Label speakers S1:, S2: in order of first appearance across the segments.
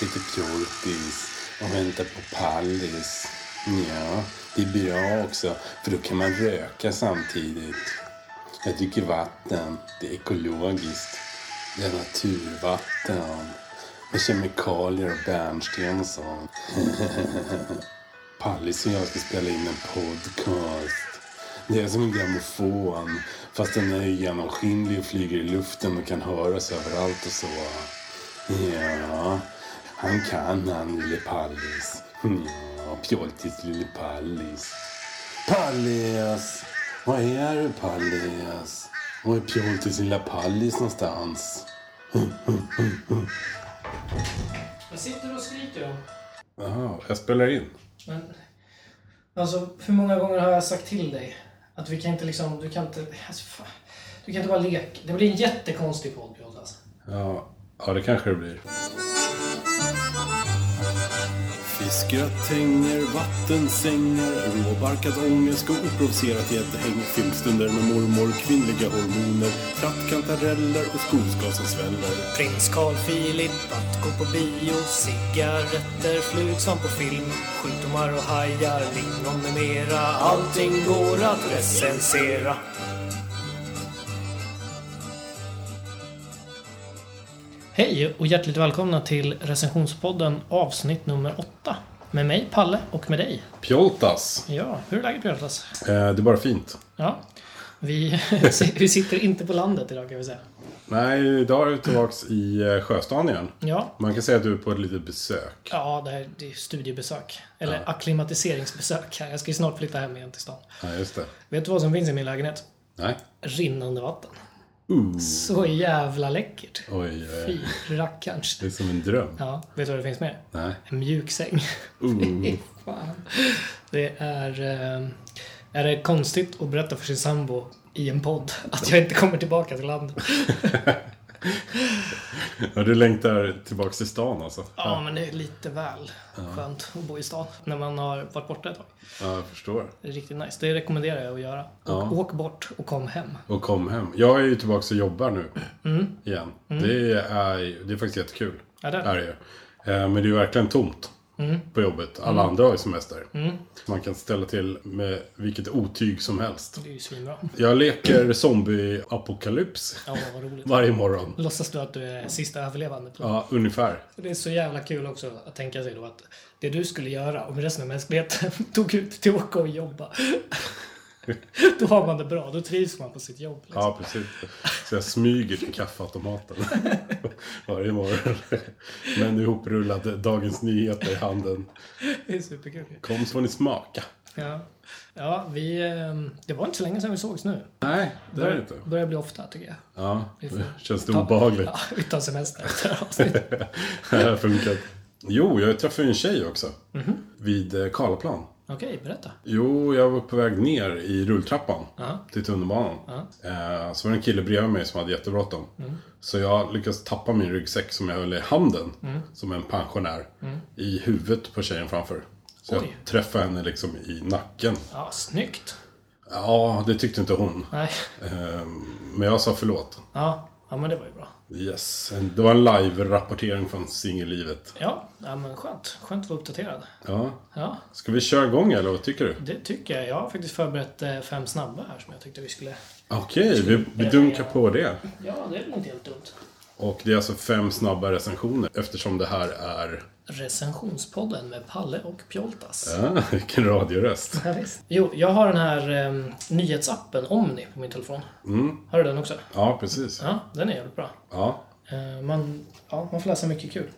S1: sitter Korpis och väntar på Pallis. Ja, det är bra också, för då kan man röka samtidigt. Jag dricker vatten. Det är ekologiskt. Det är naturvatten. Med kemikalier och bärnsten och sånt. Pallis och jag ska spela in en podcast. Det är som en grammofon. Fast den är genomskinlig och flyger i luften och kan höras överallt och så. Ja, han kan han, lille Pallis. Ja, pjoltis lille Pallis. Pallis! Vad är du Pallis? Var är pjoltis lilla Pallis någonstans?
S2: Jag sitter och skriker då.
S1: Jaha, jag spelar in.
S2: Men, alltså, hur många gånger har jag sagt till dig att vi kan inte liksom, du kan inte, alltså, fan, du kan inte bara leka. Det blir en jättekonstig podd, Jonas.
S1: Ja, ja det kanske det blir. Fiskgratänger, vattensängar, råbarkad ångest och oprovocerat gäddhäng. Filmstunder med mormor, kvinnliga hormoner, trattkantareller och skogsgas som sväller.
S3: Prins Carl Philip att gå på bio Cigaretter, flug som på film Sjukdomar och hajar, lingon med mera Allting går att recensera
S2: Hej och hjärtligt välkomna till recensionspodden avsnitt nummer åtta. Med mig, Palle, och med dig.
S1: Pjoltas!
S2: Ja, hur är läget Jonas?
S1: Eh, det är bara fint.
S2: Ja, vi, vi sitter inte på landet idag kan vi säga.
S1: Nej, idag är vi tillbaks i eh, sjöstan igen.
S2: Ja,
S1: Man kan säga att du är på ett litet besök.
S2: ja det här det är studiebesök. Eller akklimatiseringsbesök här. Jag ska ju snart flytta hem igen till stan.
S1: Ja, just det.
S2: Vet du vad som finns i min lägenhet?
S1: Nej.
S2: Rinnande vatten.
S1: Ooh.
S2: Så jävla läckert.
S1: Oj, oj, oj.
S2: Fy rackarns.
S1: Det är som en dröm.
S2: Ja, vet du vad det finns mer?
S1: Nej.
S2: En mjuk säng.
S1: Ooh.
S2: Fan. Det är... eh, Är det konstigt att berätta för sin sambo i en podd att jag inte kommer tillbaka till landet?
S1: Ja, du längtar tillbaks till stan alltså?
S2: Ja, men det är lite väl skönt att bo i stan när man har varit borta ett tag.
S1: Ja, jag förstår.
S2: Det är riktigt nice. Det rekommenderar jag att göra.
S1: Ja.
S2: Och åk bort och kom hem.
S1: Och kom hem. Jag är ju tillbaks och jobbar nu. Igen. Det, är, det är faktiskt jättekul.
S2: Mm. Ja, Mm. det är det.
S1: är det. ju. Eh, Men det är ju verkligen tomt på jobbet. Alla andra har ju semester.
S2: Mm.
S1: Man kan ställa till med vilket otyg som helst.
S2: Det är ju svinbra.
S1: Jag leker zombie-apokalyps
S2: Ja, vad roligt.
S1: varje morgon.
S2: Låtsas du att du är sista överlevande?
S1: Ja, ungefär.
S2: Det är så jävla kul också att tänka sig då att det du skulle göra om resten av mänskligheten tog ut till att åka och jobba. då har man det bra, då trivs man på sitt jobb. Liksom.
S1: Ja, precis. Så jag smyger till kaffeautomaten varje morgon. Men ihoprullad Dagens Nyheter i handen.
S2: Det är superkul.
S1: Kom så får ni smaka.
S2: Ja, ja vi, ehm, det var inte så länge sedan vi sågs nu.
S1: Nej, det är det inte.
S2: börjar bli ofta tycker jag.
S1: Ja,
S2: Vi får-
S1: känns det obehagligt.
S2: Ja, vi tar semester efter det här avsnittet.
S1: Det här har funkat. Jo, jag träffade ju en tjej också.
S2: Mhm.
S1: Vid eh, Karlaplan.
S2: Okej, berätta.
S1: Jo, jag var på väg ner i rulltrappan
S2: Ja.
S1: till tunnelbanan. Eh, Så var det en kille bredvid mig som hade jättebråttom.
S2: Mm.
S1: Så jag lyckades tappa min ryggsäck som jag höll i handen,
S2: Mm.
S1: som en pensionär, i huvudet på tjejen framför. Så
S2: Oj.
S1: jag träffade henne liksom i nacken.
S2: Ja, snyggt.
S1: Ja, det tyckte inte hon.
S2: Nej.
S1: Eh, Men jag sa förlåt.
S2: Ja, ja men det var ju bra.
S1: Yes, en- det var en live-rapportering från singellivet.
S2: Ja, ja men skönt. Skönt att vara uppdaterad.
S1: Ja.
S2: Ja,
S1: Ska vi köra igång eller vad tycker du?
S2: det tycker jag. Jag har faktiskt förberett eh, fem snabba här som jag tyckte vi skulle...
S1: Okej, vi, vi dunkar på det.
S2: Ja, det är väl inte helt dumt.
S1: Och det är alltså fem snabba recensioner eftersom det här är...
S2: Recensionspodden med Palle och Pjoltas.
S1: Ah, vilken radioröst.
S2: Ja. visst. Jo, jag har den här eh, nyhetsappen Omni på min telefon. Har du den också?
S1: Ja, precis.
S2: Ja, den är jävligt bra.
S1: Ja.
S2: Eh, man, ja, man får läsa mycket kul.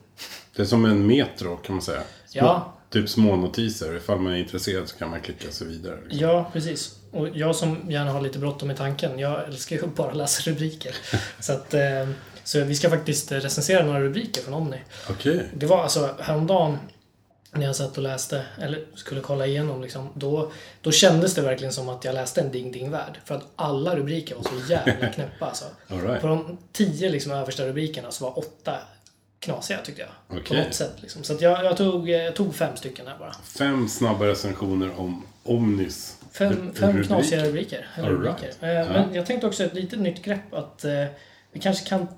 S1: Det är som en metro kan man säga. Små,
S2: Ja.
S1: Typ små notiser. Ifall man är intresserad så kan man klicka sig vidare. liksom.
S2: Ja, precis. Och jag som gärna har lite bråttom i tanken, jag älskar ju att bara läsa rubriker. så, att, eh, så vi ska faktiskt recensera några rubriker från Omni.
S1: Okej.
S2: Det var alltså häromdagen när jag satt och läste, eller skulle kolla igenom liksom, då, då kändes det verkligen som att jag läste en Ding Ding Värld. För att alla rubriker var så jävla knäppa alltså.
S1: All right.
S2: På de tio liksom, översta rubrikerna så var åtta knasiga tyckte jag.
S1: Okej.
S2: På något sätt liksom. Så att jag, jag, tog, eh, jag tog fem stycken här bara.
S1: Fem snabba recensioner om Omnis.
S2: Fem,
S1: ru-
S2: fem
S1: rubrik.
S2: knasiga rubriker. eller
S1: All
S2: rubriker.
S1: right.
S2: Eh, Men jag tänkte också ett litet nytt grepp att eh, vi kanske kan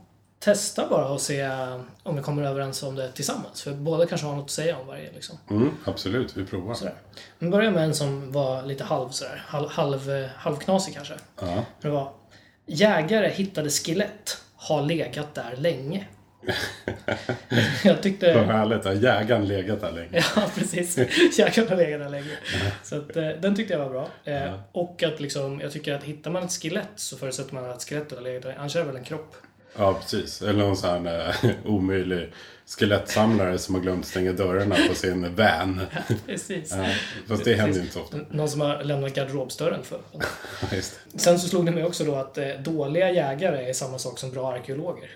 S2: testa bara och se eh, om vi kommer överens om det tillsammans. För båda kanske har något att säga om varje. Liksom.
S1: Mm, absolut, vi provar.
S2: Sådär. Men börja med en som var lite halv sådär. Halv, halv, eh, halvknasig kanske.
S1: Ja.
S2: Det var Jägare hittade skelett. Har legat där länge. jag
S1: Vad
S2: tyckte...
S1: härligt, har jägaren legat där länge?
S2: Ja, precis. Jägaren har legat där länge.
S1: Mm.
S2: Så att, eh, den tyckte jag var bra. Eh, Och att liksom, jag tycker att hittar man ett skelett så förutsätter man att skelettet har legat där. Annars är det väl en kropp.
S1: Ja, precis. Eller någon sån här eh, omöjlig skelettsamlare som har glömt stänga dörrarna på sin van.
S2: Precis.
S1: Ja, Fast det händer ju
S2: Precis.
S1: inte så ofta.
S2: Någon som har lämnat garderobsdörren för.
S1: Ja, Just
S2: Sen så slog det mig också då att eh, dåliga jägare är samma sak som bra arkeologer.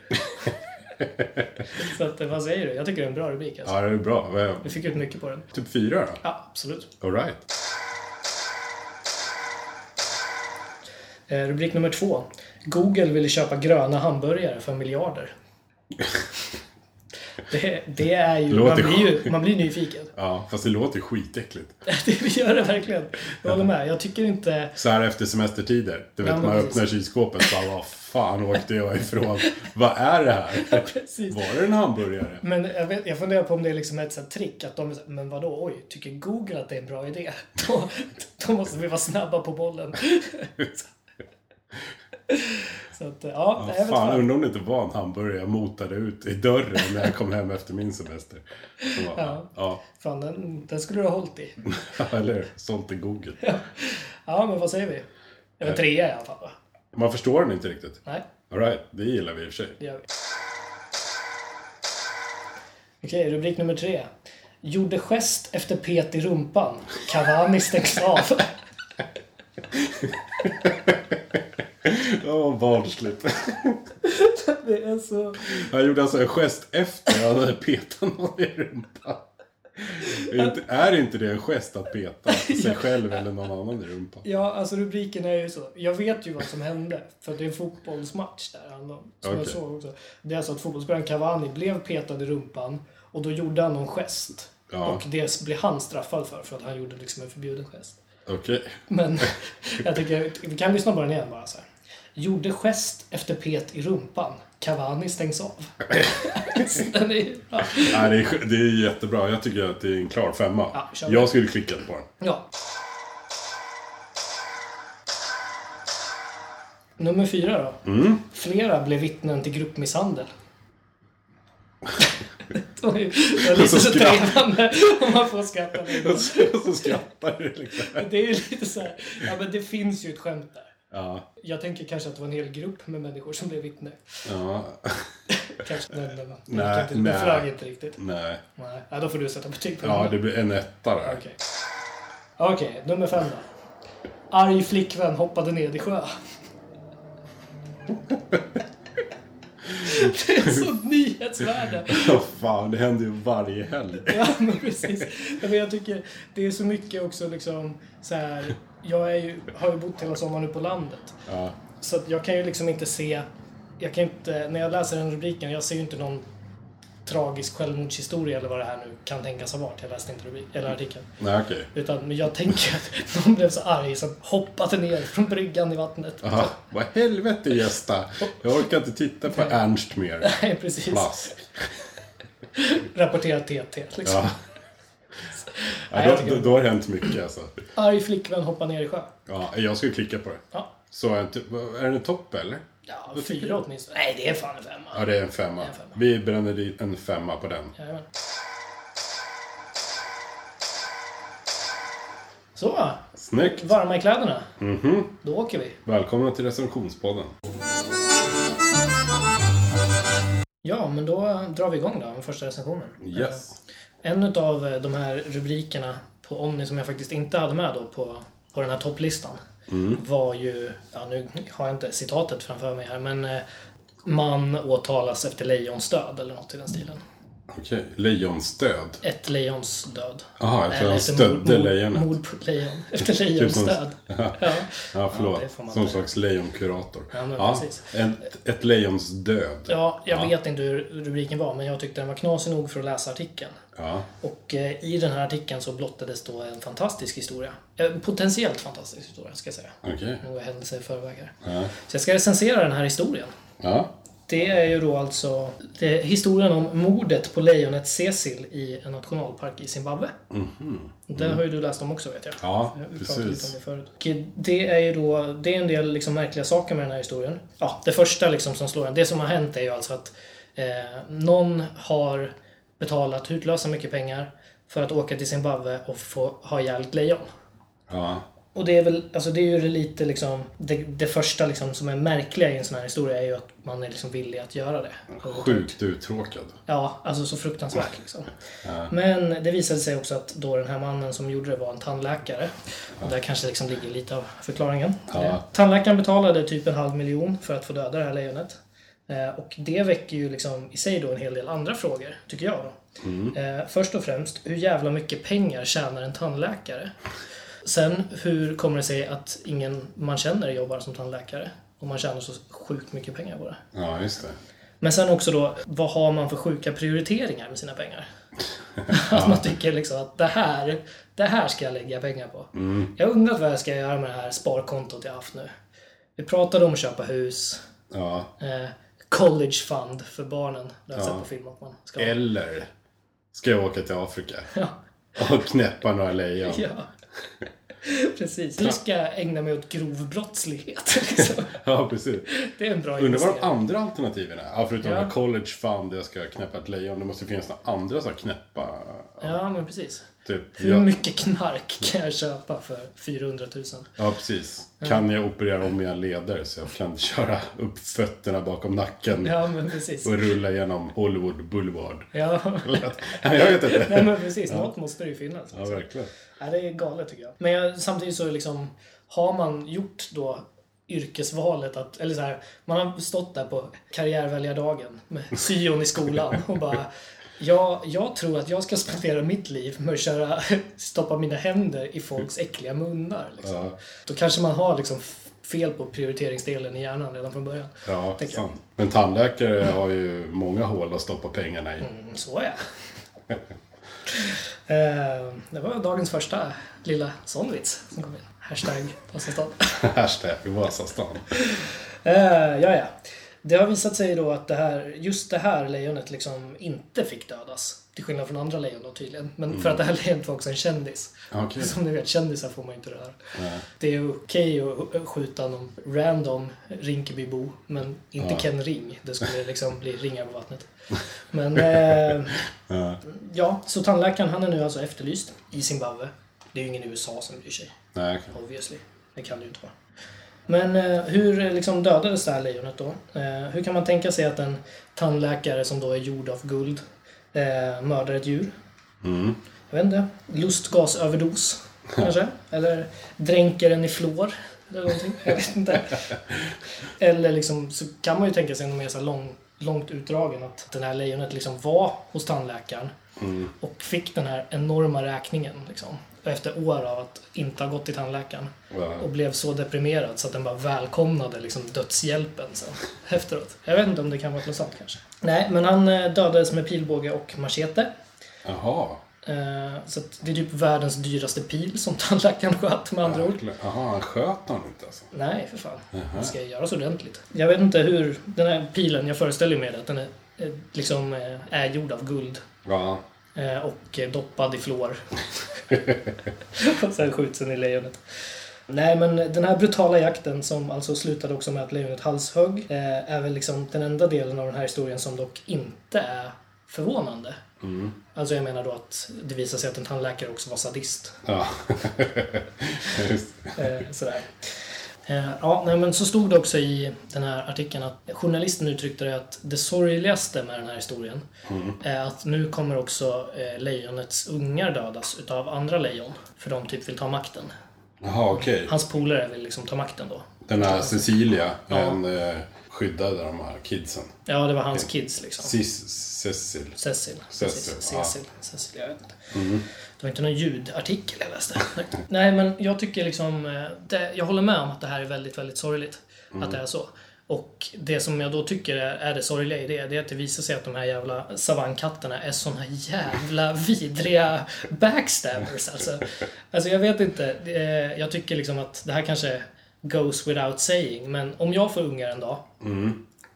S2: så att, eh, vad säger du? Jag tycker det är en bra rubrik alltså.
S1: Ja, det är bra. Vad är-
S2: Vi fick ut mycket på den.
S1: Typ fyra då?
S2: Ja, absolut.
S1: Alright.
S2: Eh, rubrik nummer två. Google ville köpa gröna hamburgare för miljarder. Det, det är ju... Man
S1: Låter
S2: blir ju man blir nyfiken.
S1: Ja, fast det låter ju skitäckligt.
S2: Det gör det verkligen. Jag håller med. Jag tycker inte...
S1: Så här efter semestertider. Du vet,
S2: Ja, men
S1: man
S2: precis.
S1: öppnar kylskåpet och bara vad fan åkte jag ifrån? vad är det här?
S2: Precis.
S1: Var det en hamburgare?
S2: Men jag, vet, jag funderar på om det är liksom ett sånt trick att de är så här, men vadå, oj, tycker Google att det är en bra idé? Då, då måste vi vara snabba på bollen. så att, ja,
S1: Ja,
S2: jag
S1: fan,
S2: vet fan.
S1: undrar om det inte var en hamburgare jag motade ut i dörren när jag kom hem efter min semester. Så Bara, ja.
S2: Ja. fan den, den skulle du ha hållit i.
S1: eller hur? Sånt är Google.
S2: Ja, men vad säger vi? Det var trea i alla fall va?
S1: Man förstår den inte riktigt.
S2: Nej,
S1: Alright, det gillar vi i och för sig.
S2: det gör vi. Okej, rubrik nummer tre. Gjorde gest efter pet i rumpan. Cavani stängs av.
S1: Ja, oh, barnsligt.
S2: det är så...
S1: Han gjorde alltså en gest efter han hade petat någon i rumpan. Är inte- Är inte det en gest att peta sig själv eller någon annan i rumpan?
S2: Ja, alltså rubriken är ju så. Jag vet ju vad som hände. För det är en fotbollsmatch där. han- Som jag
S1: Okej.
S2: såg också. Det är alltså att fotbollsspelaren Cavani blev petad i rumpan och då gjorde han någon gest.
S1: Ja.
S2: Och det blev han straffad för, för att han gjorde liksom en förbjuden gest.
S1: Okej.
S2: Men jag tycker, vi kan lyssna på den igen bara så här. Gjorde gest efter pet i rumpan. Cavani stängs av. alltså, den är ju... Ja.
S1: Nej, det, är, det är jättebra. Jag tycker att det är en klar femma.
S2: Ja, kör vi.
S1: jag skulle klicka på den.
S2: ja. Nummer fyra då.
S1: Mm.
S2: Flera blev vittnen till gruppmisshandel. Det var ju- det var lite
S1: Så
S2: så
S1: skratt.
S2: trevande om man får skratta lite.
S1: Och så, så skrattar du liksom.
S2: Det är ju lite så här, ja men det finns ju ett skämt där.
S1: Ja.
S2: Jag tänker kanske att det var en hel grupp med människor som blev vittne.
S1: ja.
S2: Kanske, men den,
S1: Nej,
S2: nej, den,
S1: nej.
S2: den flög inte riktigt.
S1: Nej.
S2: Nej, ja, då får du sätta betyg på
S1: Ja,
S2: den.
S1: det blir en etta där.
S2: Okej. Okej, nummer fem då. Arg flickvän hoppade ned i sjö. Det är sånt nyhetsvärde.
S1: Ja, fan, det händer ju varje helg.
S2: Ja, men precis. Ja, men jag tycker det är så mycket också liksom så här. Jag är ju, har ju bott hela sommaren nu på landet.
S1: Ja.
S2: Så att jag kan ju liksom inte se, jag kan inte, när jag läser den rubriken, jag ser ju inte någon tragisk självmordshistoria eller vad det här nu kan tänkas ha varit. Jag läste inte rubrik, eller artikeln.
S1: Nej, okej.
S2: Utan men jag tänker att någon blev så arg så att hoppade ner från bryggan i vattnet.
S1: Aha. Vad helvete Gösta. Jag orkar inte titta på Ernst mer.
S2: Nej, precis.
S1: Plask.
S2: Rapporterar TT. Liksom.
S1: Ja.
S2: Nej, jag
S1: Ja, då,
S2: tycker-
S1: då, då har det hänt mycket alltså.
S2: Arg flickvän hoppar ner i sjö.
S1: Ja, jag skulle klicka på det.
S2: Ja,
S1: Så är, inte, är den en topp eller?
S2: ja
S1: Vad tycker
S2: fyra
S1: du?
S2: åtminstone. Nej, det är fan en femma.
S1: Ja, det är en femma.
S2: Det är en femma.
S1: Vi bränner dit en femma på den.
S2: Jajamän. Så,
S1: Snyggt!
S2: varma i kläderna.
S1: Mhm.
S2: Då åker vi.
S1: Välkomna till recensionspodden.
S2: Ja, men då drar vi igång då med första recensionen.
S1: Yes.
S2: Eh, En av de här rubrikerna på Omni som jag faktiskt inte hade med då på, på den här topplistan
S1: Mm.
S2: var ju, ja nu har jag inte citatet framför mig här, men eh, man åtalas efter lejonsdöd eller något i den stilen.
S1: Okej, lejonstöd.
S2: Ett lejons död.
S1: Jaha, jag tror
S2: Eller
S1: han
S2: efter
S1: stödde
S2: mord-
S1: lejonet.
S2: Mord på ett lejon. Efter lejonsdöd. ja.
S1: Ja, förlåt.
S2: det får man
S1: Som
S2: säga.
S1: slags lejonkurator.
S2: Ja, men precis.
S1: ett, ett lejons död.
S2: ja, jag vet inte hur rubriken var, men jag tyckte den var knasig nog för att läsa artikeln.
S1: Ja.
S2: Och eh, i den här artikeln så blottades då en fantastisk historia. En potentiellt fantastisk historia, ska jag säga.
S1: Okej.
S2: Några händelser i förväg här.
S1: Ja.
S2: Så jag ska recensera den här historien.
S1: Ja.
S2: Det är ju då alltså det är historien om mordet på lejonet Cecil i en nationalpark i Zimbabwe. Den har ju du läst om också vet jag.
S1: Ja,
S2: Vi pratade lite om
S1: precis.
S2: det förut. Och Det är ju då, det är en del liksom märkliga saker med den här historien. Ja, det första liksom som slår en, det som har hänt är ju alltså att eh, någon har betalat hutlösa mycket pengar för att åka till Zimbabwe och få ha ihjäl ett lejon.
S1: Ja.
S2: Och det är väl, alltså det är ju lite liksom, det, det första liksom som är märkliga i en sån här historia är ju att man är liksom villig att göra det.
S1: Sjukt uttråkad.
S2: Ja, alltså så fruktansvärt liksom. Men det visade sig också att då den här mannen som gjorde det var en tandläkare. Och där kanske liksom ligger lite av förklaringen. till
S1: Ja.
S2: det. Tandläkaren betalade typ en halv miljon för att få döda det här lejonet. Eh, Och det väcker ju liksom i sig då en hel del andra frågor, tycker jag. Då. Eh, Först och främst, hur jävla mycket pengar tjänar en tandläkare? Sen, hur kommer det sig att ingen man känner jobbar som tandläkare? Och man tjänar så sjukt mycket pengar på det.
S1: Ja, just det.
S2: Men sen också då, vad har man för sjuka prioriteringar med sina pengar? att man tycker liksom att det här, det här ska jag lägga pengar på.
S1: Mm.
S2: Jag har undrat vad jag ska göra med det här sparkontot jag haft nu. Vi pratade om att köpa hus,
S1: Ja.
S2: eh, college fund för barnen. Det har jag
S1: Ja.
S2: sett på film att man ska ha.
S1: Eller ska jag åka till Afrika
S2: Ja,
S1: och knäppa några lejon?
S2: ja. Precis. Du ska ägna mig åt grov brottslighet. Liksom.
S1: Ja, precis.
S2: Det är en
S1: Undrar
S2: bra
S1: vad de
S2: investering.
S1: andra alternativen är? Ja, förutom
S2: Ja.
S1: ja. college fund där jag ska knäppa ett lejon. Det måste finnas några andra som knäppa...
S2: Ja, men precis.
S1: Typ,
S2: Hur
S1: jag,
S2: mycket knark kan jag köpa för 400 000?
S1: ja, precis. Kan jag operera om mina leder så jag kan köra upp fötterna bakom nacken
S2: Ja, men precis.
S1: och rulla genom Hollywood Boulevard?
S2: Ja.
S1: Nej, jag vet inte.
S2: Nej men precis, något måste det ju finnas.
S1: Ja, verkligen.
S2: Ja, det är galet tycker jag. Men jag, samtidigt så liksom, har man gjort då yrkesvalet att, eller så här, man har stått där på karriärväljardagen med syon i skolan och bara jag, jag tror att jag ska spendera mitt liv med att köra, stoppa mina händer i folks äckliga munnar. Liksom.
S1: Ja,
S2: Då kanske man har liksom f- fel på prioriteringsdelen i hjärnan redan från början.
S1: ja
S2: Tänker jag.
S1: sant. Men tandläkare har ju många hål att stoppa pengarna i.
S2: Mm, så är Eh, Det var dagens första lilla sån vits som kom in. Hashtag Vasastan.
S1: Hashtag Vasastan.
S2: Eh, ja, ja. Det har visat sig då att det här, just det här lejonet liksom inte fick dödas. Till skillnad från andra lejon då tydligen. Men för att det här lejonet var också en kändis.
S1: Okej.
S2: Som ni vet, kändisar får man ju inte röra. Det är ju okej att skjuta någon random Rinkeby-bo, men inte Ken Ring. Det skulle liksom bli ringar på vattnet. Men eh,
S1: Ja.
S2: ja, så tandläkaren han är nu alltså efterlyst i Zimbabwe. Det är ju ingen i USA som bryr sig,
S1: Nej, okej.
S2: obviously. Det kan det ju inte vara. Men eh, hur eh, liksom dödades det här lejonet då? Eh, hur kan man tänka sig att en tandläkare som då är gjord av guld eh, mördar ett djur?
S1: Mm.
S2: Jag vet inte. Lustgasöverdos, kanske? Eller dränker den i fluor? Eller någonting. Jag vet inte. Eller liksom, så kan man ju tänka sig något mer så här lång, långt utdragen. Att den här lejonet liksom var hos tandläkaren
S1: mm.
S2: och fick den här enorma räkningen. Liksom, efter år av att inte ha gått till tandläkaren.
S1: Ja.
S2: Och blev så deprimerad så att den bara välkomnade liksom, dödshjälpen sen efteråt. Jag vet inte om det kan vara något sånt kanske. Nej, men han eh, dödades med pilbåge och machete.
S1: Jaha.
S2: Eh, Så att det är typ världens dyraste pil som tandläkaren sköt med andra ord.
S1: Verkligen. Jaha, han sköt han inte alltså?
S2: Nej, för fan. Det ska göras ordentligt. Jag vet inte hur... Den här pilen, jag föreställer mig att den är, eh, liksom, eh, är gjord av guld.
S1: Ja.
S2: eh, Och eh, doppad i fluor. och sen skjuts den i lejonet. Nej, men den här brutala jakten som alltså slutade också med att lejonet halshögg eh, är väl liksom den enda delen av den här historien som dock inte är förvånande. Alltså jag menar då att det visar sig att en tandläkare också var sadist.
S1: Ja. Just.
S2: Eh, sådär. Eh, Ja, nej, men så stod det också i den här artikeln att journalisten uttryckte det att det sorgligaste med den här historien är att nu kommer också eh, lejonets ungar dödas utav andra lejon. För de typ vill ta makten.
S1: Jaha, okej.
S2: Hans polare vill liksom ta makten då.
S1: Den här Cecilia,
S2: Ja.
S1: en eh, skyddade de här kidsen.
S2: Ja, det var hans kids liksom.
S1: Cis, Cecil.
S2: Cecil.
S1: Cecil,
S2: Precis.
S1: ja.
S2: Cecil. Cecil, jag vet inte. Det var inte någon ljudartikel jag läste. Nej, men jag tycker liksom... eh, Det, jag håller med om att det här är väldigt, väldigt sorgligt. Att det är så. Och det som jag då tycker är, är det sorgliga i det, det är att det visar sig att de här jävla savannkatterna är såna jävla vidriga backstabbers alltså. Alltså jag vet inte, eh, jag tycker liksom att det här kanske goes without saying, men om jag får ungar en dag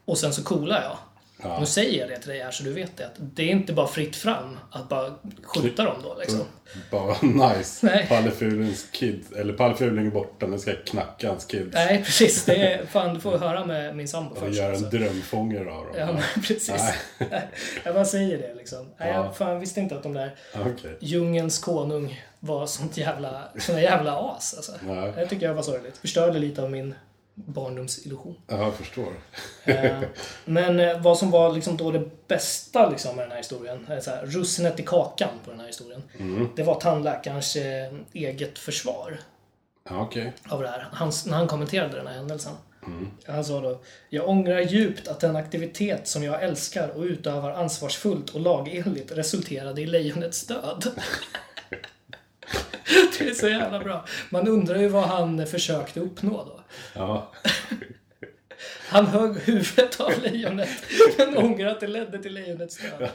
S2: Och sen så coolar jag.
S1: Ja.
S2: Nu säger jag det till dig här så du vet det. Att det är inte bara fritt fram att bara skjuta dem då liksom.
S1: Mm. Bara nice.
S2: Nej.
S1: Palle Fulings kid. Eller Palle Fuling är borta, nu ska jag knacka hans kids.
S2: Nej, precis. Det är, fan, du får höra med min sambo
S1: Och
S2: först.
S1: göra en
S2: alltså.
S1: drömfångare av dem.
S2: Ja, men precis. Nej. Jag bara säger det liksom. Nej,
S1: Ja.
S2: jag fan, visste inte att de där
S1: Okej.
S2: djungelns konung var sånt jävla, såna jävla as alltså.
S1: Nej.
S2: Det tycker jag var sorgligt. Förstörde lite av min barndomsillusion.
S1: Ja, jag förstår.
S2: Eh, Men eh, vad som var liksom då det bästa liksom med den här historien, eh, så här, russinet i kakan på den här historien, det var tandläkarens eh, eget försvar
S1: Ja, okej.
S2: av det här. Han, när han kommenterade den här händelsen. Han sa då Jag ångrar djupt att den aktivitet som jag älskar och utövar ansvarsfullt och lagenligt resulterade i lejonets död. det är så jävla bra. Man undrar ju vad han försökte uppnå då.
S1: Ja.
S2: Han högg huvudet av lejonet men ångrar att det ledde till lejonets död.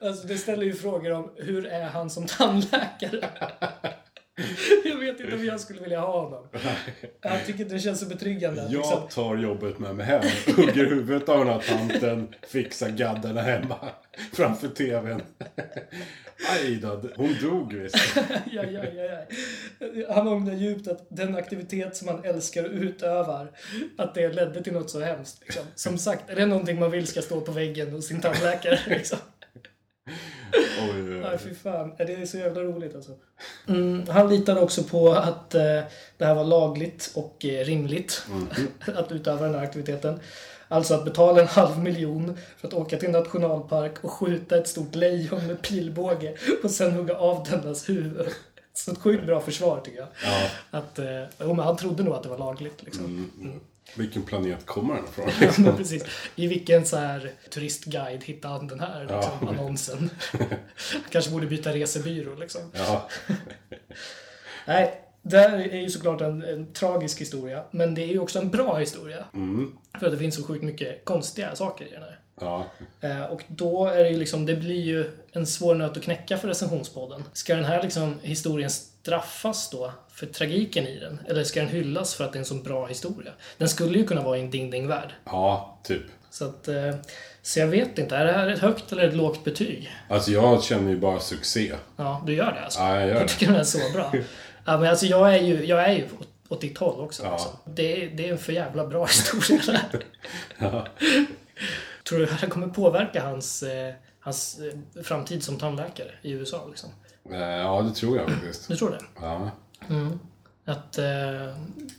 S2: Alltså det ställer ju frågor om hur är han som tandläkare? Jag vet inte om jag skulle vilja ha honom. Jag tycker inte det känns så betryggande. att Liksom,
S1: Jag tar jobbet med mig hem, hugger huvudet av den här tanten, fixar gaddarna hemma framför tvn. Aj då, hon dog visst.
S2: ja, ja, ja, ja. Han ångrar djupt att den aktivitet som han älskar och utövar, att det ledde till något så hemskt. Liksom. Som sagt, är det någonting man vill ska stå på väggen hos sin tandläkare? Liksom?
S1: Oj,
S2: Nej, fy fan. Det är så jävla roligt alltså. Mm, han litade också på att eh, det här var lagligt och eh, rimligt
S1: Mm.
S2: att utöva den här aktiviteten. Alltså att betala en halv miljon för att åka till en nationalpark och skjuta ett stort lejon med pilbåge och sen hugga av dennas huvud. Så ett sjukt bra försvar tycker jag.
S1: Ja. Mm.
S2: Att, eh, jo, men han trodde nog att det var lagligt liksom.
S1: Vilken planet kommer den ifrån?
S2: Ja, men precis. I vilken så här turistguide hittade han den här
S1: Ja.
S2: liksom, annonsen? Kanske borde byta resebyrå liksom.
S1: Ja.
S2: Nej, det här är ju såklart en, en tragisk historia, men det är ju också en bra historia. För att det finns så sjukt mycket konstiga saker i den här.
S1: ja.
S2: Eh, Och då är det ju liksom, det blir ju en svår nöt att knäcka för recensionspodden. Ska den här liksom historien straffas då för tragiken i den? Eller ska den hyllas för att det är en så bra historia? Den skulle ju kunna vara i en ding-ding-värld.
S1: Ja, typ.
S2: Så att, eh, så jag vet inte, är det här ett högt eller ett lågt betyg?
S1: Alltså jag känner ju bara succé.
S2: Ja, du gör det alltså?
S1: Ja, jag gör
S2: Jag
S1: det.
S2: tycker den är så bra. Ja, men alltså, jag, är ju, jag är ju åt- åt ditt håll också.
S1: Ja.
S2: Alltså. Det, är, det är en för jävla bra historia. det här. Tror du att det kommer påverka hans, eh, hans eh, framtid som tandläkare i USA? Liksom?
S1: Eh, Ja, det tror jag faktiskt.
S2: Du tror det?
S1: Ja,
S2: Att eh,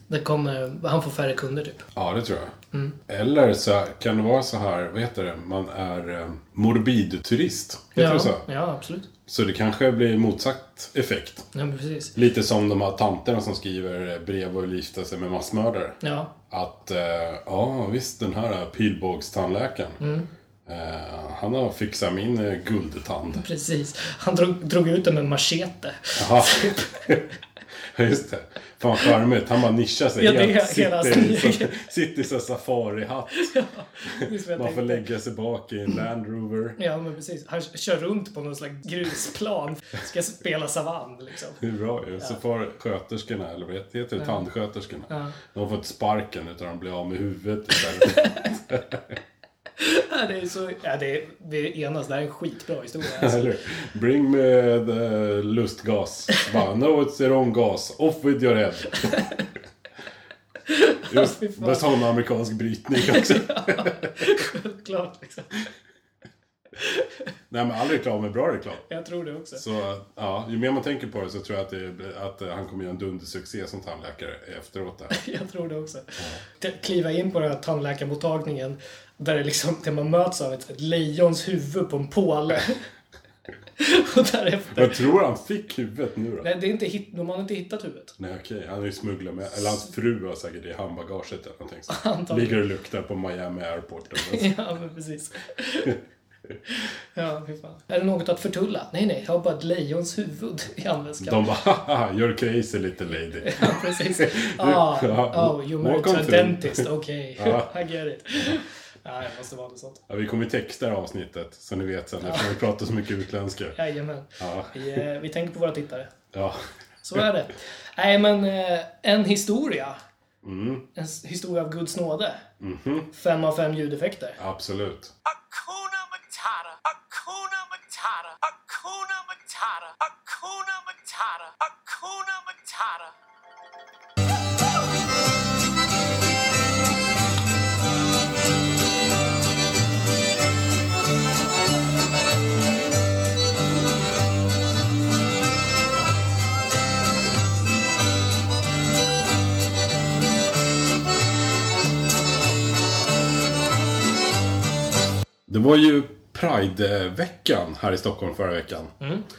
S2: det kommer, han får färre kunder typ?
S1: ja det tror jag.
S2: Mm.
S1: Eller så kan det vara så här, vad heter det, man är eh, morbid turist. Heter
S2: ja,
S1: det så?
S2: ja, absolut.
S1: Så det kanske blir motsatt effekt.
S2: Ja, men precis.
S1: Lite som de här tanterna som skriver brev och vill gifta sig med massmördare.
S2: Ja,
S1: Att, eh, ja visst den här pilbågstandläkaren.
S2: Mm.
S1: Eh, han har fixat min eh, guldtand.
S2: precis. Han drog, drog ut den med machete.
S1: Jaha. Ja, Just det. Fan vad charmigt. Han bara nischar sig
S2: Ja, det är
S1: helt.
S2: hela-
S1: Sitter, sitter i sån safarihatt.
S2: Just vad jag
S1: Man får
S2: tänkte.
S1: lägga sig bak i en Land Rover.
S2: Ja, men precis. Han kör runt på någon slags grusplan. Ska spela savann, liksom.
S1: Hur bra är det? Så får sköterskorna, eller vad heter det? Tandsköterskorna. De har fått sparken utan de blir av med huvudet istället.
S2: Ja, det är så... Ja, det är, vi enas. Det här är en skitbra historia. Alltså.
S1: Eller Bring me the lustgas. Bara, no it's your own gas. Off with your head. Just
S2: fy fan.
S1: med sån amerikansk brytning också.
S2: Klart, liksom.
S1: Nej men all reklam är bra reklam.
S2: Jag tror det också.
S1: Så ja, ju mer man tänker på det så tror jag att, det, att eh, han kommer göra en dundersuccé som tandläkare efteråt. Där.
S2: Jag tror det också. T- Kliva in på den här tandläkarmottagningen där det liksom, där man möts av ett, ett lejons huvud på en påle. Och därefter...
S1: Men tror han fick huvudet nu då? Nej,
S2: Nej, det är inte hit, de har inte hittat huvudet.
S1: okej, han är ju smugglat med, eller hans fru har säkert det i handbagaget eller någonting sånt.
S2: Antagligen.
S1: Ligger och luktar på Miami Airport. eller något.
S2: Ja, men precis. Ja, fy fan. Är det något att förtulla? Nej, nej. Jag har bara ett lejons huvud i handväskan.
S1: De bara haha, you're crazy little lady.
S2: Ja, precis. Ah,
S1: Ja.
S2: oh, you married to
S1: Welcome
S2: a
S1: to-
S2: dentist. Okej,
S1: Ja.
S2: I get it. Ja, det måste vara något sånt.
S1: Ja, vi kommer texta det här avsnittet, så ni vet sen eftersom vi pratar så mycket utländska.
S2: Jajamän.
S1: Ja.
S2: Vi, eh, vi tänker på våra tittare.
S1: Ja.
S2: Så är
S1: Mm.
S2: det. Nej, men eh, en historia. En s- historia av Guds nåde.
S1: Mhm.
S2: Fem av fem ljudeffekter.
S1: Absolut.
S4: Akuna Matata. Akuna Matata. Akuna Matata. Akuna Matata. Akuna Matata.
S1: Det var ju Pride-veckan här i Stockholm förra veckan.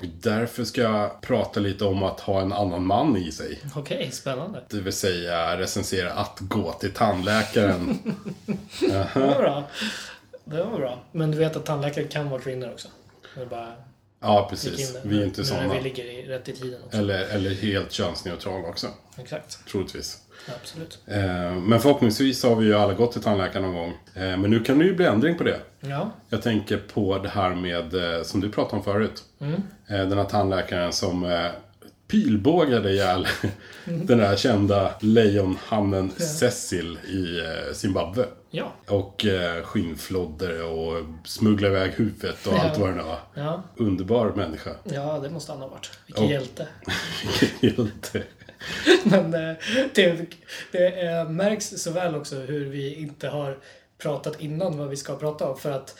S1: Och Därför ska jag prata lite om att ha en annan man i sig.
S2: Okej, spännande.
S1: Det vill säga recensera att gå till tandläkaren.
S2: Det var bra. Det var bra. Men du vet att tandläkare kan vara kvinnor också. Det är bara
S1: Ja,
S2: gick in
S1: precis.
S2: där.
S1: Vi är
S2: Nu
S1: inte
S2: när
S1: sådana.
S2: vi ligger i, rätt i tiden också.
S1: Eller, eller helt könsneutrala också,
S2: Exakt.
S1: troligtvis.
S2: Absolut.
S1: Eh, Men förhoppningsvis har vi ju alla gått till tandläkaren någon gång. Eh, Men nu kan det ju bli ändring på det.
S2: Ja.
S1: Jag tänker på det här med, eh, som du pratade om förut. Eh, Den här tandläkaren som eh, pilbågade ihjäl den där kända lejonhannen Cecil i eh, Zimbabwe.
S2: Ja.
S1: Och eh, skinnflodder och smugglade iväg huvudet och allt vad det nu var.
S2: Ja.
S1: Underbar människa.
S2: Ja, det måste han ha varit. Vilken
S1: Ja.
S2: hjälte.
S1: Hjälte.
S2: Men eh, det, det eh, märks så väl också hur vi inte har pratat innan vad vi ska prata om. För att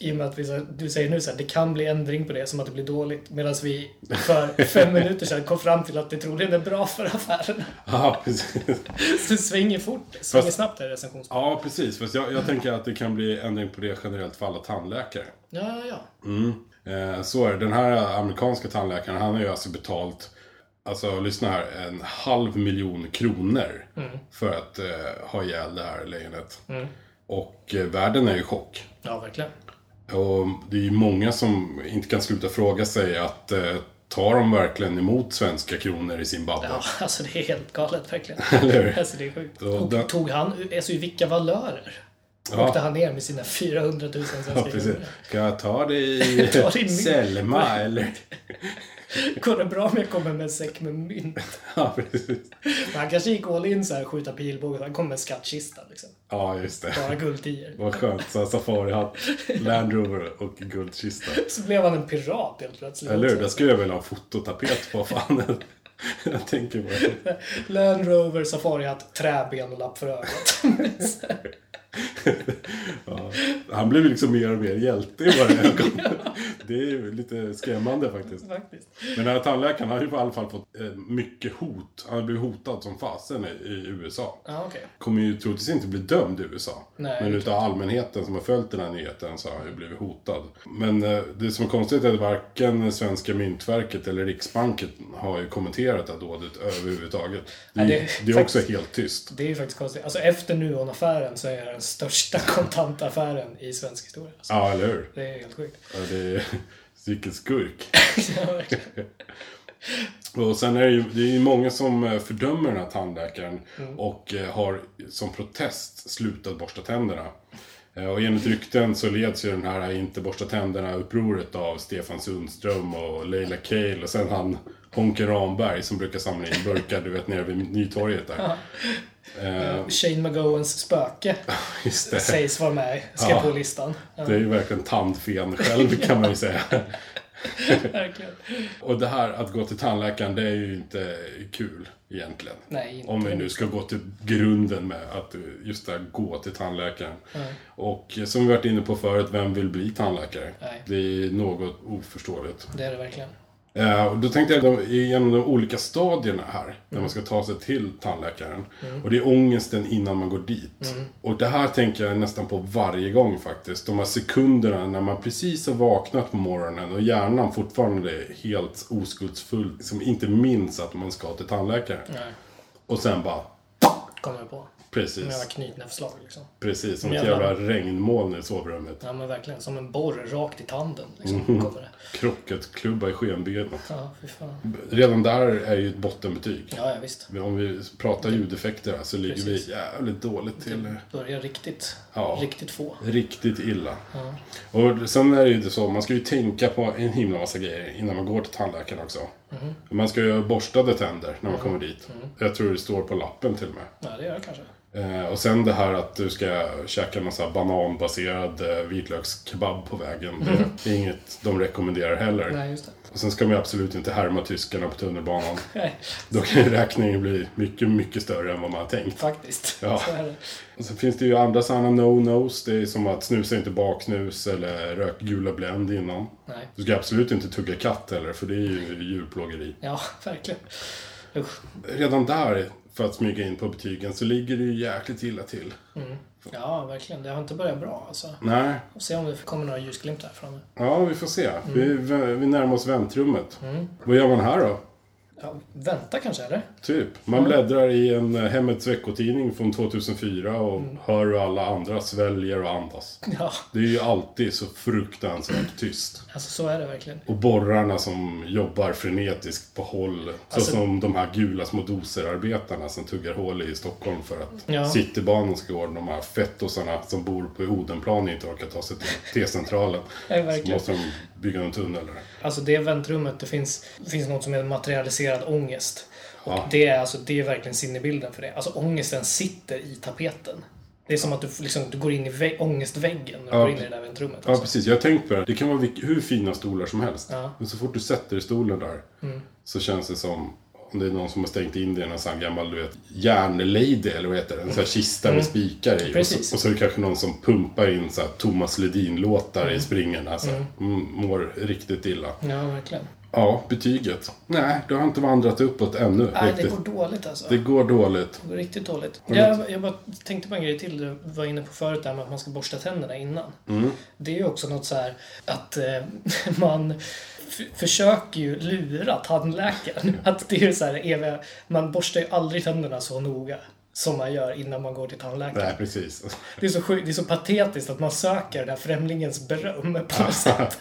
S2: i och med att vi, så- du säger nu så här, det kan bli ändring på det som att det blir dåligt. Medan vi för fem minuter sedan kom fram till att det troligen är bra för affären.
S1: Ja, precis.
S2: Så det svänger fort, svänger
S1: Fast-
S2: snabbt där recensions...
S1: Ja, precis. Fast jag, jag tänker att det kan bli ändring på det generellt för alla tandläkare.
S2: Ja, ja.
S1: Eh, så är det. Den här amerikanska tandläkaren, han har ju alltså betalt, alltså lyssna här, en halv miljon kronor för att eh, ha ihjäl det här lejonet. Och eh, världen är i chock.
S2: Ja, verkligen.
S1: Och det är ju många som inte kan sluta fråga sig att eh, tar de verkligen emot svenska kronor i Zimbabwe?
S2: Ja, alltså det är helt galet verkligen.
S1: Eller hur?
S2: Alltså det är sjukt.
S1: Och
S2: Och
S1: den-
S2: tog han, alltså i vilka valörer?
S1: Ja.
S2: Åkte han ner med sina 400 000 svenska
S1: Ja, precis.
S2: kronor?
S1: Ska jag ta det
S2: Ta det i
S1: i
S2: mynt.
S1: Selma eller?
S2: Går det bra om jag kommer med en säck med mynt?
S1: Ja, precis.
S2: Men Han kanske gick all in så här, skjuta pilbågen. Han kom med en skattkista liksom.
S1: Ja, just det.
S2: Bara guldtior.
S1: Vad skönt. Så här safarihatt, Land Rover och guldkista.
S2: Så blev han en pirat helt plötsligt.
S1: Eller hur?
S2: också.
S1: Där skulle jag vilja ha fototapet på. Fan. Jag tänker på det.
S2: Land Rover, safarihatt, träben och lapp för ögat.
S1: Han blev ju liksom mer och mer hjälte i våra ögon. Det är ju lite skrämmande faktiskt.
S2: Faktiskt.
S1: Men den här tandläkaren har ju i alla fall fått eh, mycket hot. Han har blivit hotad som fasen i, i USA.
S2: Ja, okej.
S1: Kommer ju troligtvis inte bli dömd i USA.
S2: Nej,
S1: Men
S2: det är
S1: utav allmänheten som har följt den här nyheten så har han ju blivit hotad. Men eh, det som är konstigt är att varken svenska myntverket eller Riksbanken har ju kommenterat det här dådet överhuvudtaget. Det är,
S2: Nej,
S1: det,
S2: det-
S1: det är också
S2: faktiskt-
S1: helt tyst.
S2: Det är ju faktiskt konstigt. Alltså efter Nuon-affären så är det den största kontantaffären i svensk historia. Alltså,
S1: Ja, eller hur?
S2: det är helt sjukt.
S1: Ja, det är... Vilken skurk.
S2: Ja, verkligen.
S1: Och sen är det ju, det är ju många som eh, fördömer den här tandläkaren
S2: Mm.
S1: och eh, har som protest slutat borsta tänderna. Eh, Och enligt rykten så leds ju den här eh, inte borsta tänderna-upproret av Stefan Sundström och Leila Cale och sen han Honken Ramberg som brukar samla in burkar, du vet, nere vid Nytorget där. Eh,
S2: Shane McGowans spöke
S1: just det.
S2: sägs vara med. Ska
S1: Ja.
S2: på listan. Ja,
S1: Det är ju verkligen tandfen själv kan man ju säga.
S2: verkligen.
S1: Och det här att gå till tandläkaren, det är ju inte kul egentligen.
S2: Nej, inte.
S1: Om vi nu ska gå till grunden med att eh, just det här, gå till tandläkaren.
S2: Mm.
S1: Och eh, som vi varit inne på förut, vem vill bli tandläkare?
S2: Nej.
S1: Det är något oförståeligt.
S2: Det är det verkligen.
S1: Eh, och då tänkte jag de- igenom de olika stadierna här, när man ska ta sig till tandläkaren. Och det är ångesten innan man går dit. Och det här tänker jag nästan på varje gång faktiskt. De här sekunderna när man precis har vaknat på morgonen och hjärnan fortfarande är helt oskuldsfull, som inte minns att man ska till tandläkaren.
S2: Nej,
S1: Och sen bara,
S2: kommer jag på. Med
S1: precis,
S2: några knytnävsslag liksom.
S1: precis, som ett
S2: Jävlar.
S1: jävla regnmoln i sovrummet.
S2: Ja men verkligen, som en borr rakt i tanden. Liksom,
S1: Mm.
S2: kommer det.
S1: Krocketklubba i skenbenet.
S2: Ja, fy fan.
S1: Redan där är ju ett bottenbetyg.
S2: Ja, ja visst.
S1: Om vi pratar ljudeffekter här så ligger
S2: Precis.
S1: vi jävligt dåligt till. eh,
S2: Börjar riktigt,
S1: Ja.
S2: riktigt få.
S1: Riktigt illa. Och sen är det ju det så, man ska ju tänka på en himla massa grejer innan man går till tandläkaren också.
S2: Mm-hmm.
S1: Man ska ju ha borstade tänder när man kommer dit. Jag tror det står på lappen till och med.
S2: Ja, det gör jag kanske.
S1: Eh, och sen det här att du ska käka någon sån här bananbaserad eh, vitlökskebab på vägen. Det är inget de rekommenderar heller.
S2: Mm-hmm. Nej, just det.
S1: Och sen ska man ju absolut inte härma tyskarna på tunnelbanan.
S2: Nej,
S1: Då kan ju räkningen bli mycket, mycket större än vad man har tänkt.
S2: faktiskt.
S1: Ja.
S2: Så är det.
S1: Och sen finns det ju andra sådana no-nos. Det är som att snusa inte baksnus eller rök gula Blend innan.
S2: Nej.
S1: Du ska absolut inte tugga katt heller, för det är ju djurplågeri.
S2: Ja, verkligen. Usch.
S1: Redan där, för att smyga in på betygen, så ligger det ju jäkligt illa till.
S2: Ja, verkligen. Det har inte börjat bra alltså.
S1: Nej,
S2: Får se om det kommer några ljusglimtar framme.
S1: ja vi får se. Vi, vi närmar oss väntrummet. Vad gör man här då?
S2: Ja, vänta kanske, eller?
S1: Typ. Man bläddrar i en eh, Hemmets veckotidning från 2004 och hör hur alla andra sväljer och andas.
S2: Ja,
S1: Det är ju alltid så fruktansvärt tyst.
S2: alltså så är det verkligen.
S1: Och borrarna som jobbar frenetiskt på håll.
S2: Alltså-
S1: så som de här gula små doserarbetarna som tuggar hål i Stockholm för att
S2: Ja.
S1: Citybanan ska gå. De här fettosarna som bor på Odenplan inte orkar ta sig till T-centralen.
S2: Nej,
S1: så
S2: verkligen.
S1: måste de bygga en tunnel där.
S2: Alltså det väntrummet, det finns, det finns något som är materialiserad ångest. Och
S1: Ja.
S2: det, är, alltså, det är verkligen sinnebilden för det. Alltså ångesten sitter i tapeten. Det är som att du, liksom, du går in i vä- ångestväggen när du
S1: Ja.
S2: går in i det där väntrummet.
S1: Ja,
S2: Alltså.
S1: precis. Jag har tänkt på det. här. Det kan vara vilk- hur fina stolar som helst.
S2: Ja. Mm.
S1: Men så fort du sätter dig i stolen där så känns det som om det är någon som har stängt in dig i en sån här gammal, du vet, järnlady eller vad heter det? En sån här kista med spikar i. Och
S2: Mm. Precis.
S1: så, och så är det kanske någon som pumpar in så här Thomas Ledin-låtar i springen. Alltså, mm. mår riktigt illa.
S2: Ja, verkligen.
S1: Ja, betyget. Nej, det har inte vandrat uppåt ännu
S2: Nej, det
S1: riktigt.
S2: går dåligt alltså.
S1: det går dåligt.
S2: Det går riktigt dåligt. Jag, jag bara tänkte på en grej till du var inne på förut, där med att man ska borsta tänderna innan.
S1: Mm.
S2: Det är ju också något så här att eh, man f- försöker ju lura
S1: Mm.
S2: tandläkaren. Att det är ju så här eviga, man borstar ju aldrig tänderna så noga som man gör innan man går till tandläkaren.
S1: Nej, precis.
S2: Det är, så sjukt, det är så patetiskt att man söker det där främlingens beröm på något sätt.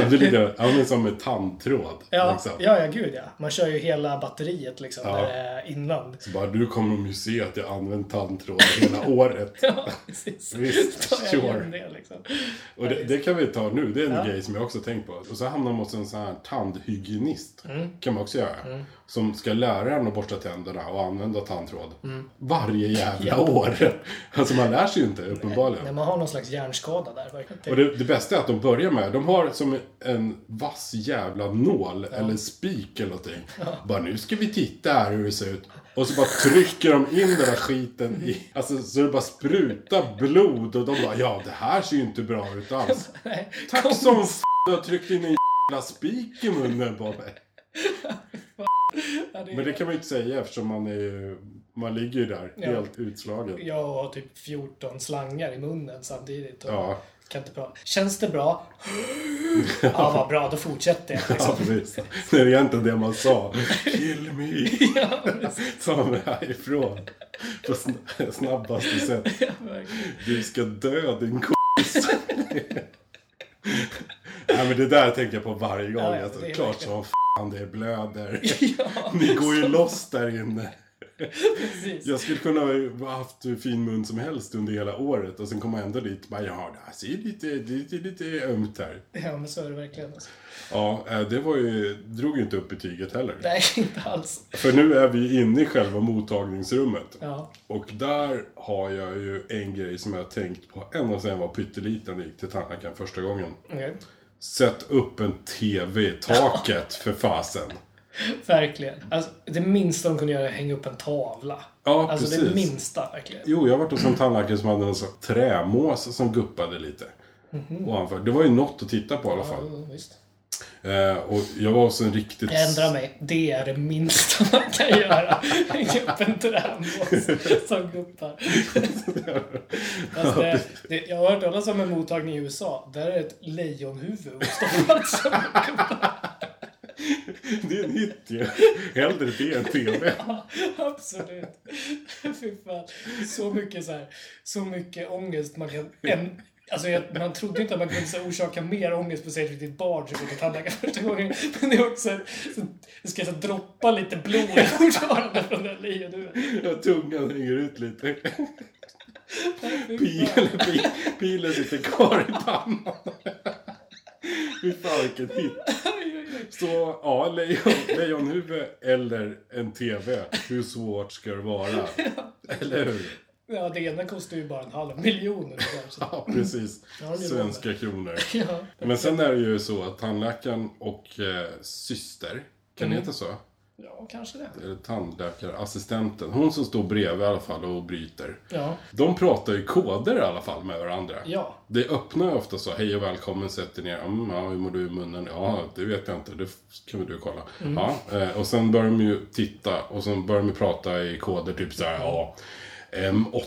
S1: Ja, du ligger, ja, men som med tandtråd.
S2: Ja,
S1: liksom.
S2: ja, ja, gud ja. Man kör ju hela batteriet liksom
S1: Ja.
S2: när det är innan.
S1: Bara, du kommer de ju se att jag har använt tandtråd hela året.
S2: Ja, precis.
S1: Visst,
S2: Tar jag igen
S1: sure.
S2: det liksom.
S1: Och det, det kan vi ta nu, det är en grej som jag också tänkt på. Och så hamnar man hos en sån här tandhygienist. Kan man också göra. Som ska lära en att borsta tänderna och använda tandtråd. Varje jävla år. Alltså man lär sig ju inte uppenbarligen.
S2: När man har någon slags hjärnskada där. verkligen.
S1: Och det, det bästa är att de börjar med, de har som en vass jävla nål eller spik eller någonting. Bara nu ska vi titta här hur det ser ut. Och så bara trycker de in den där skiten i, alltså så det bara sprutar blod och de bara ja det här ser ju inte bra ut alls.
S2: Nej,
S1: Tack som f- du har tryckt in en jävla spik i munnen på mig.
S2: ja, det,
S1: Men det kan man ju inte säga eftersom man är ju, man ligger ju där
S2: Ja.
S1: helt utslagen.
S2: Jag har typ 14 slangar i munnen samtidigt. Och
S1: Ja.
S2: kan inte prata. Känns det bra? ja, vad bra. Då fortsätter jag. Liksom.
S1: Ja, precis. Det är egentligen det man sa. Kill me!
S2: Ja, precis.
S1: Ta mig härifrån. På sn- snabbaste sätt.
S2: Ja, verkligen.
S1: Du ska dö din k***. Nej men det där tänker jag på varje gång.
S2: Ja, ja,
S1: alltså,
S2: det är
S1: klart
S2: verkligen.
S1: som fan det blöder. Ni går ju loss där inne.
S2: Precis.
S1: Jag skulle kunna ha haft hur fin mun som helst under hela året och sen komma ändå dit och bara ja, det här ser ju lite, det är lite ömt här.
S2: Ja, men så är det verkligen. Alltså.
S1: Ja, eh, det var ju, drog ju inte upp betyget heller.
S2: Nej, inte alls.
S1: För nu är vi inne i själva mottagningsrummet.
S2: Ja.
S1: Och där har jag ju en grej som jag har tänkt på ända sedan jag var pytteliten och gick till tandläkaren första gången.
S2: okej.
S1: Sätt upp en TV i taket för fasen.
S2: Verkligen. Alltså, det minsta de kunde göra är att hänga upp en tavla.
S1: Ja,
S2: alltså det
S1: precis.
S2: minsta, verkligen.
S1: Jo, jag har varit hos en tandläkare som hade en sån trämås som guppade lite. Ovanför. Det var ju något att titta på i alla fall.
S2: Mhm. Ja, visst.
S1: Eh, och jag var hos en riktigt...
S2: Jag ändrar mig. Det är det minsta man kan göra. Hänga upp en trämås som guppar. Fast det, det, jag har hört talas om en mottagning i USA. Där är det ett lejonhuvud alltså. uppstoppat som
S1: Det är en hit ju. Hellre det än TV.
S2: Absolut. Fy fan. Så mycket så här, så mycket ångest man kan... En, alltså jag, man trodde inte att man kunde så här, orsaka mer ångest på sig ett riktigt barn som går till tandläkaren första gången. Men det är också... Så, det ska så här, droppa lite blod fortfarande från den lejonhuvudet.
S1: Tungan hänger ut lite.
S2: Fy fan.
S1: Pilen, pi- pilen sitter kvar i pannan. Fy fan vilken hit. Så ja, lejon, lejonhuvud eller en TV. Hur svårt ska det vara? Eller hur?
S2: Ja, det ena kostar ju bara en halv miljon. ungefär, så-
S1: Ja, precis.
S2: Ja, det är
S1: Svenska kronor.
S2: Ja.
S1: Men sen är det ju så att tandläkaren och eh, syster, kan
S2: Mm.
S1: det heta så?
S2: ja, kanske det.
S1: Eller tandläkarassistenten, hon som står bredvid i alla fall och bryter.
S2: Ja,
S1: De pratar ju koder i alla fall med varandra.
S2: ja.
S1: Det öppnar ju ofta så, hej och välkommen, sätt dig ner. Mm, ja, hur mår du i munnen? Ja,
S2: Mm.
S1: det vet jag inte, det f- kan väl du kolla. Ja, eh, och sen börjar de ju titta och sen börjar de ju prata i koder, typ så här, ja. M8,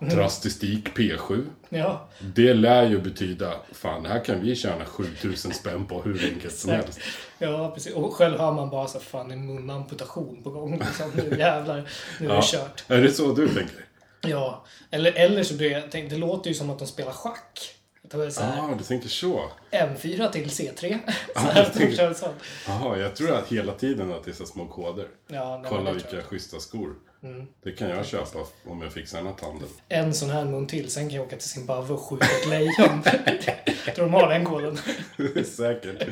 S2: Mm.
S1: drastistik P7.
S2: ja.
S1: Det lär ju betyda, fan, det här kan vi tjäna 7000 spänn på hur enkelt som helst.
S2: Ja, precis. Och själv hör man bara så här, fan, en munamputation på gång. Liksom. Nu jävlar, nu är det
S1: Ja.
S2: kört.
S1: Är det så du tänker?
S2: Ja. Eller, eller så blir jag, tänk, det låter ju som att de spelar schack. Det var så här,
S1: Ja, ah, du tänker så.
S2: M4 till C3. så
S1: jag
S2: här,
S1: tänker-
S2: det känns som.
S1: Jaha, jag tror att hela tiden att det är så små koder.
S2: Ja, nej, men
S1: Kolla
S2: det tror
S1: vilka schyssta skor.
S2: Mm.
S1: Det kan jag köpa om jag fixar den här tanden.
S2: jag. En sån här mun till, sen kan jag åka till Zimbabwe och skjuta ett lejon. tror de har den koden.
S1: Säkert.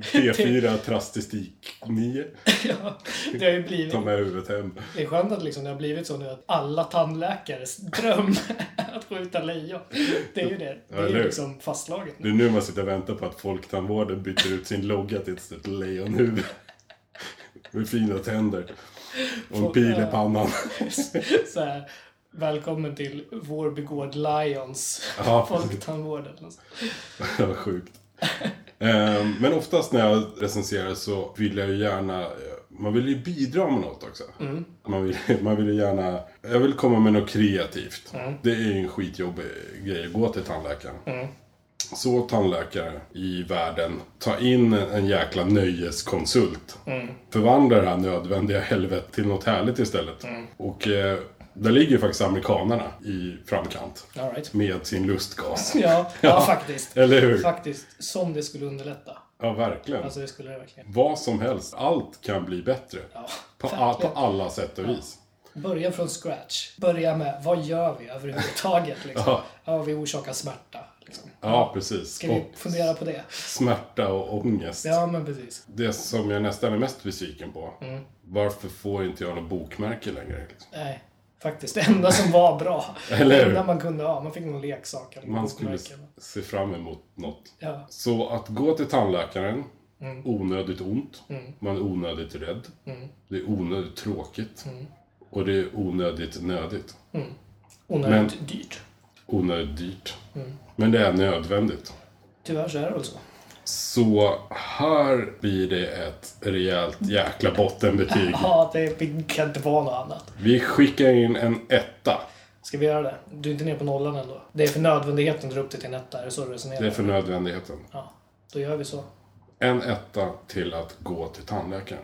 S1: P4 Trastistik 9.
S2: ja, det har ju blivit
S1: Ta med huvudet hem.
S2: Det är skönt att liksom det har blivit så nu att alla tandläkares dröm är att skjuta lejon. Det är ju det. Det är
S1: eller
S2: ju
S1: hur?
S2: liksom fastslaget
S1: Det
S2: nu.
S1: är nu man sitter och väntar på att Folktandvården byter ut sin logga till ett stort lejonhuvud. Med fina tänder. Och en pil i pannan.
S2: Så här, välkommen till vår begård Lions
S1: Ja.
S2: folktandvård. eller något sånt.
S1: Vad sjukt. Ehm, Men oftast när jag recenserar så vill jag ju gärna... eh, Man vill ju bidra med något också. Man, vill, man vill ju gärna... Jag vill komma med något kreativt. Det är ju en skitjobbig grej att gå till tandläkaren. Så tandläkare i världen, ta in en jäkla nöjeskonsult. Förvandla det här nödvändiga helvetet till något härligt istället. Och eh, där ligger ju faktiskt amerikanarna i framkant.
S2: All right.
S1: Med sin lustgas.
S2: Ja, ja, faktiskt.
S1: Mm. Eller hur?
S2: Faktiskt. Som det skulle underlätta.
S1: Ja, verkligen.
S2: Alltså det skulle det verkligen.
S1: Vad som helst. Allt kan bli bättre.
S2: Ja,
S1: på, a, på
S2: verkligen.
S1: alla sätt och vis.
S2: Börja från scratch. Börja med, vad gör vi överhuvudtaget? Liksom?
S1: Ja.
S2: Ja, vi orsakar smärta. Liksom.
S1: Ja, precis.
S2: Ska
S1: Och
S2: vi fundera på det?
S1: smärta och ångest.
S2: Ja, men precis.
S1: Det som jag nästan är mest besviken på.
S2: Mm.
S1: Varför får inte jag något bokmärke längre? Liksom?
S2: Nej, faktiskt. Det enda som var bra.
S1: Eller
S2: det
S1: hur?
S2: enda man kunde ha. Man fick någon leksak eller
S1: Man
S2: något
S1: skulle
S2: bokmärke.
S1: se fram emot något.
S2: Ja, Mm.
S1: Så att gå till tandläkaren, onödigt ont. Man är onödigt rädd. Det är onödigt tråkigt.
S2: Mm.
S1: Och det är onödigt nödigt.
S2: onödigt dyrt.
S1: Onödigt dyrt.
S2: Mm.
S1: Men det är nödvändigt.
S2: Tyvärr så är det väl så.
S1: Så här blir det ett rejält jäkla bottenbetyg.
S2: Ja, det kan inte vara något annat.
S1: Vi skickar in en etta.
S2: Ska vi göra det? Du är inte ner på nollan ändå. Det är för nödvändigheten du drar upp det till en etta. Är det så du resonerar?
S1: Det är för nödvändigheten.
S2: Ja, då gör vi så.
S1: En etta till att gå till tandläkaren.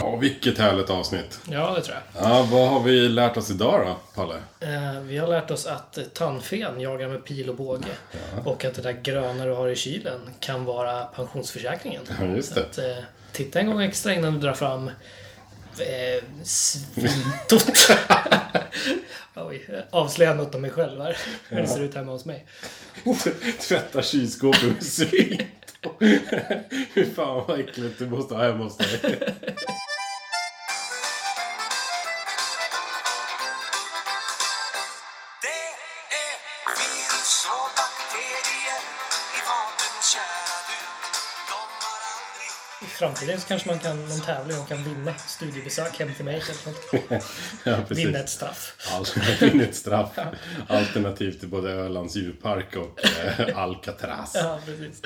S1: Ja, vilket härligt avsnitt.
S2: Ja, det tror jag.
S1: Ja, vad har vi lärt oss idag då, Palle?
S2: Eh, vi har lärt oss att eh, tandfen jagar med pil och båge. Och att det där gröna du har i kylen kan vara pensionsförsäkringen.
S1: Ja, just det.
S2: Att, eh, titta en gång extra innan du drar fram eh, svintot. Oj, eh, avslöja något om mig själv här. Hur det ser ut hemma hos mig.
S1: Tvätta kylskåpet med svin. Fy fan vad äckligt du måste ha hemma hos dig.
S4: Det är virus och bakterier i vapen, kära du. De har aldrig
S2: I framtiden så kanske man kan, någon tävling och kan vinna studiebesök hem till mig. eller något.
S1: Ja, precis.
S2: Vinna ett straff.
S1: Alternativt ett straff. Alternativ till både Ölands djurpark och eh, Alcatraz.
S2: Ja, precis.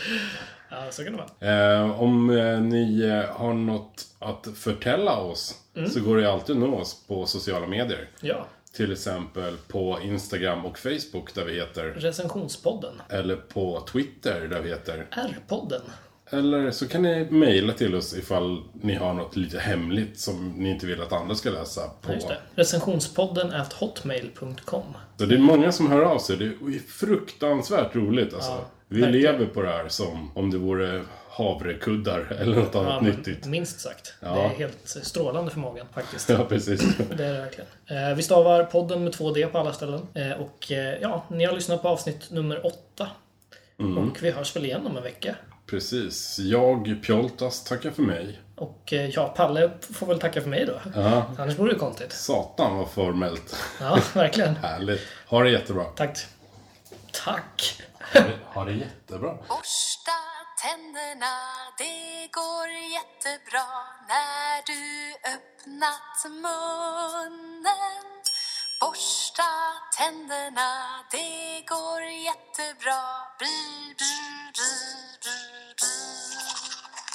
S2: Ja, så kan det vara.
S1: Eh, om eh, ni eh, har något att förtälla oss
S2: Mm.
S1: så går det ju alltid att nå oss på sociala medier.
S2: Ja,
S1: Till exempel på Instagram och Facebook där vi heter.
S2: recensionspodden.
S1: Eller på Twitter där vi heter.
S2: R-podden.
S1: Eller så kan ni mejla till oss ifall ni har något lite hemligt som ni inte vill att andra ska läsa. På.
S2: Just det. Recensionspodden at hotmail.com.
S1: Så det är många som hör av sig. Det är fruktansvärt roligt alltså. Vi
S2: verkligen.
S1: lever på det här som om det vore havrekuddar eller något annat
S2: Ja, men
S1: nyttigt.
S2: Minst sagt. Det är helt strålande för magen faktiskt.
S1: Ja, precis.
S2: Det är det verkligen. Eh, Vi stavar podden med 2D på alla ställen. Eh, Och eh, ja, ni har lyssnat på avsnitt nummer 8.
S1: Mm.
S2: Och vi hörs väl igen om en vecka.
S1: precis. Jag, Pjoltas, tackar för mig.
S2: Och eh, ja, Palle får väl tacka för mig då.
S1: Ja.
S2: Annars vore det konstigt.
S1: Satan vad formellt.
S2: Ja, verkligen.
S1: Härligt. Ha det jättebra.
S2: Tack. Tack.
S1: Ha det jättebra.
S5: Borsta tänderna, det går jättebra när du öppnat munnen. Borsta tänderna, det går jättebra. Bli, bli, bli, bli, bli.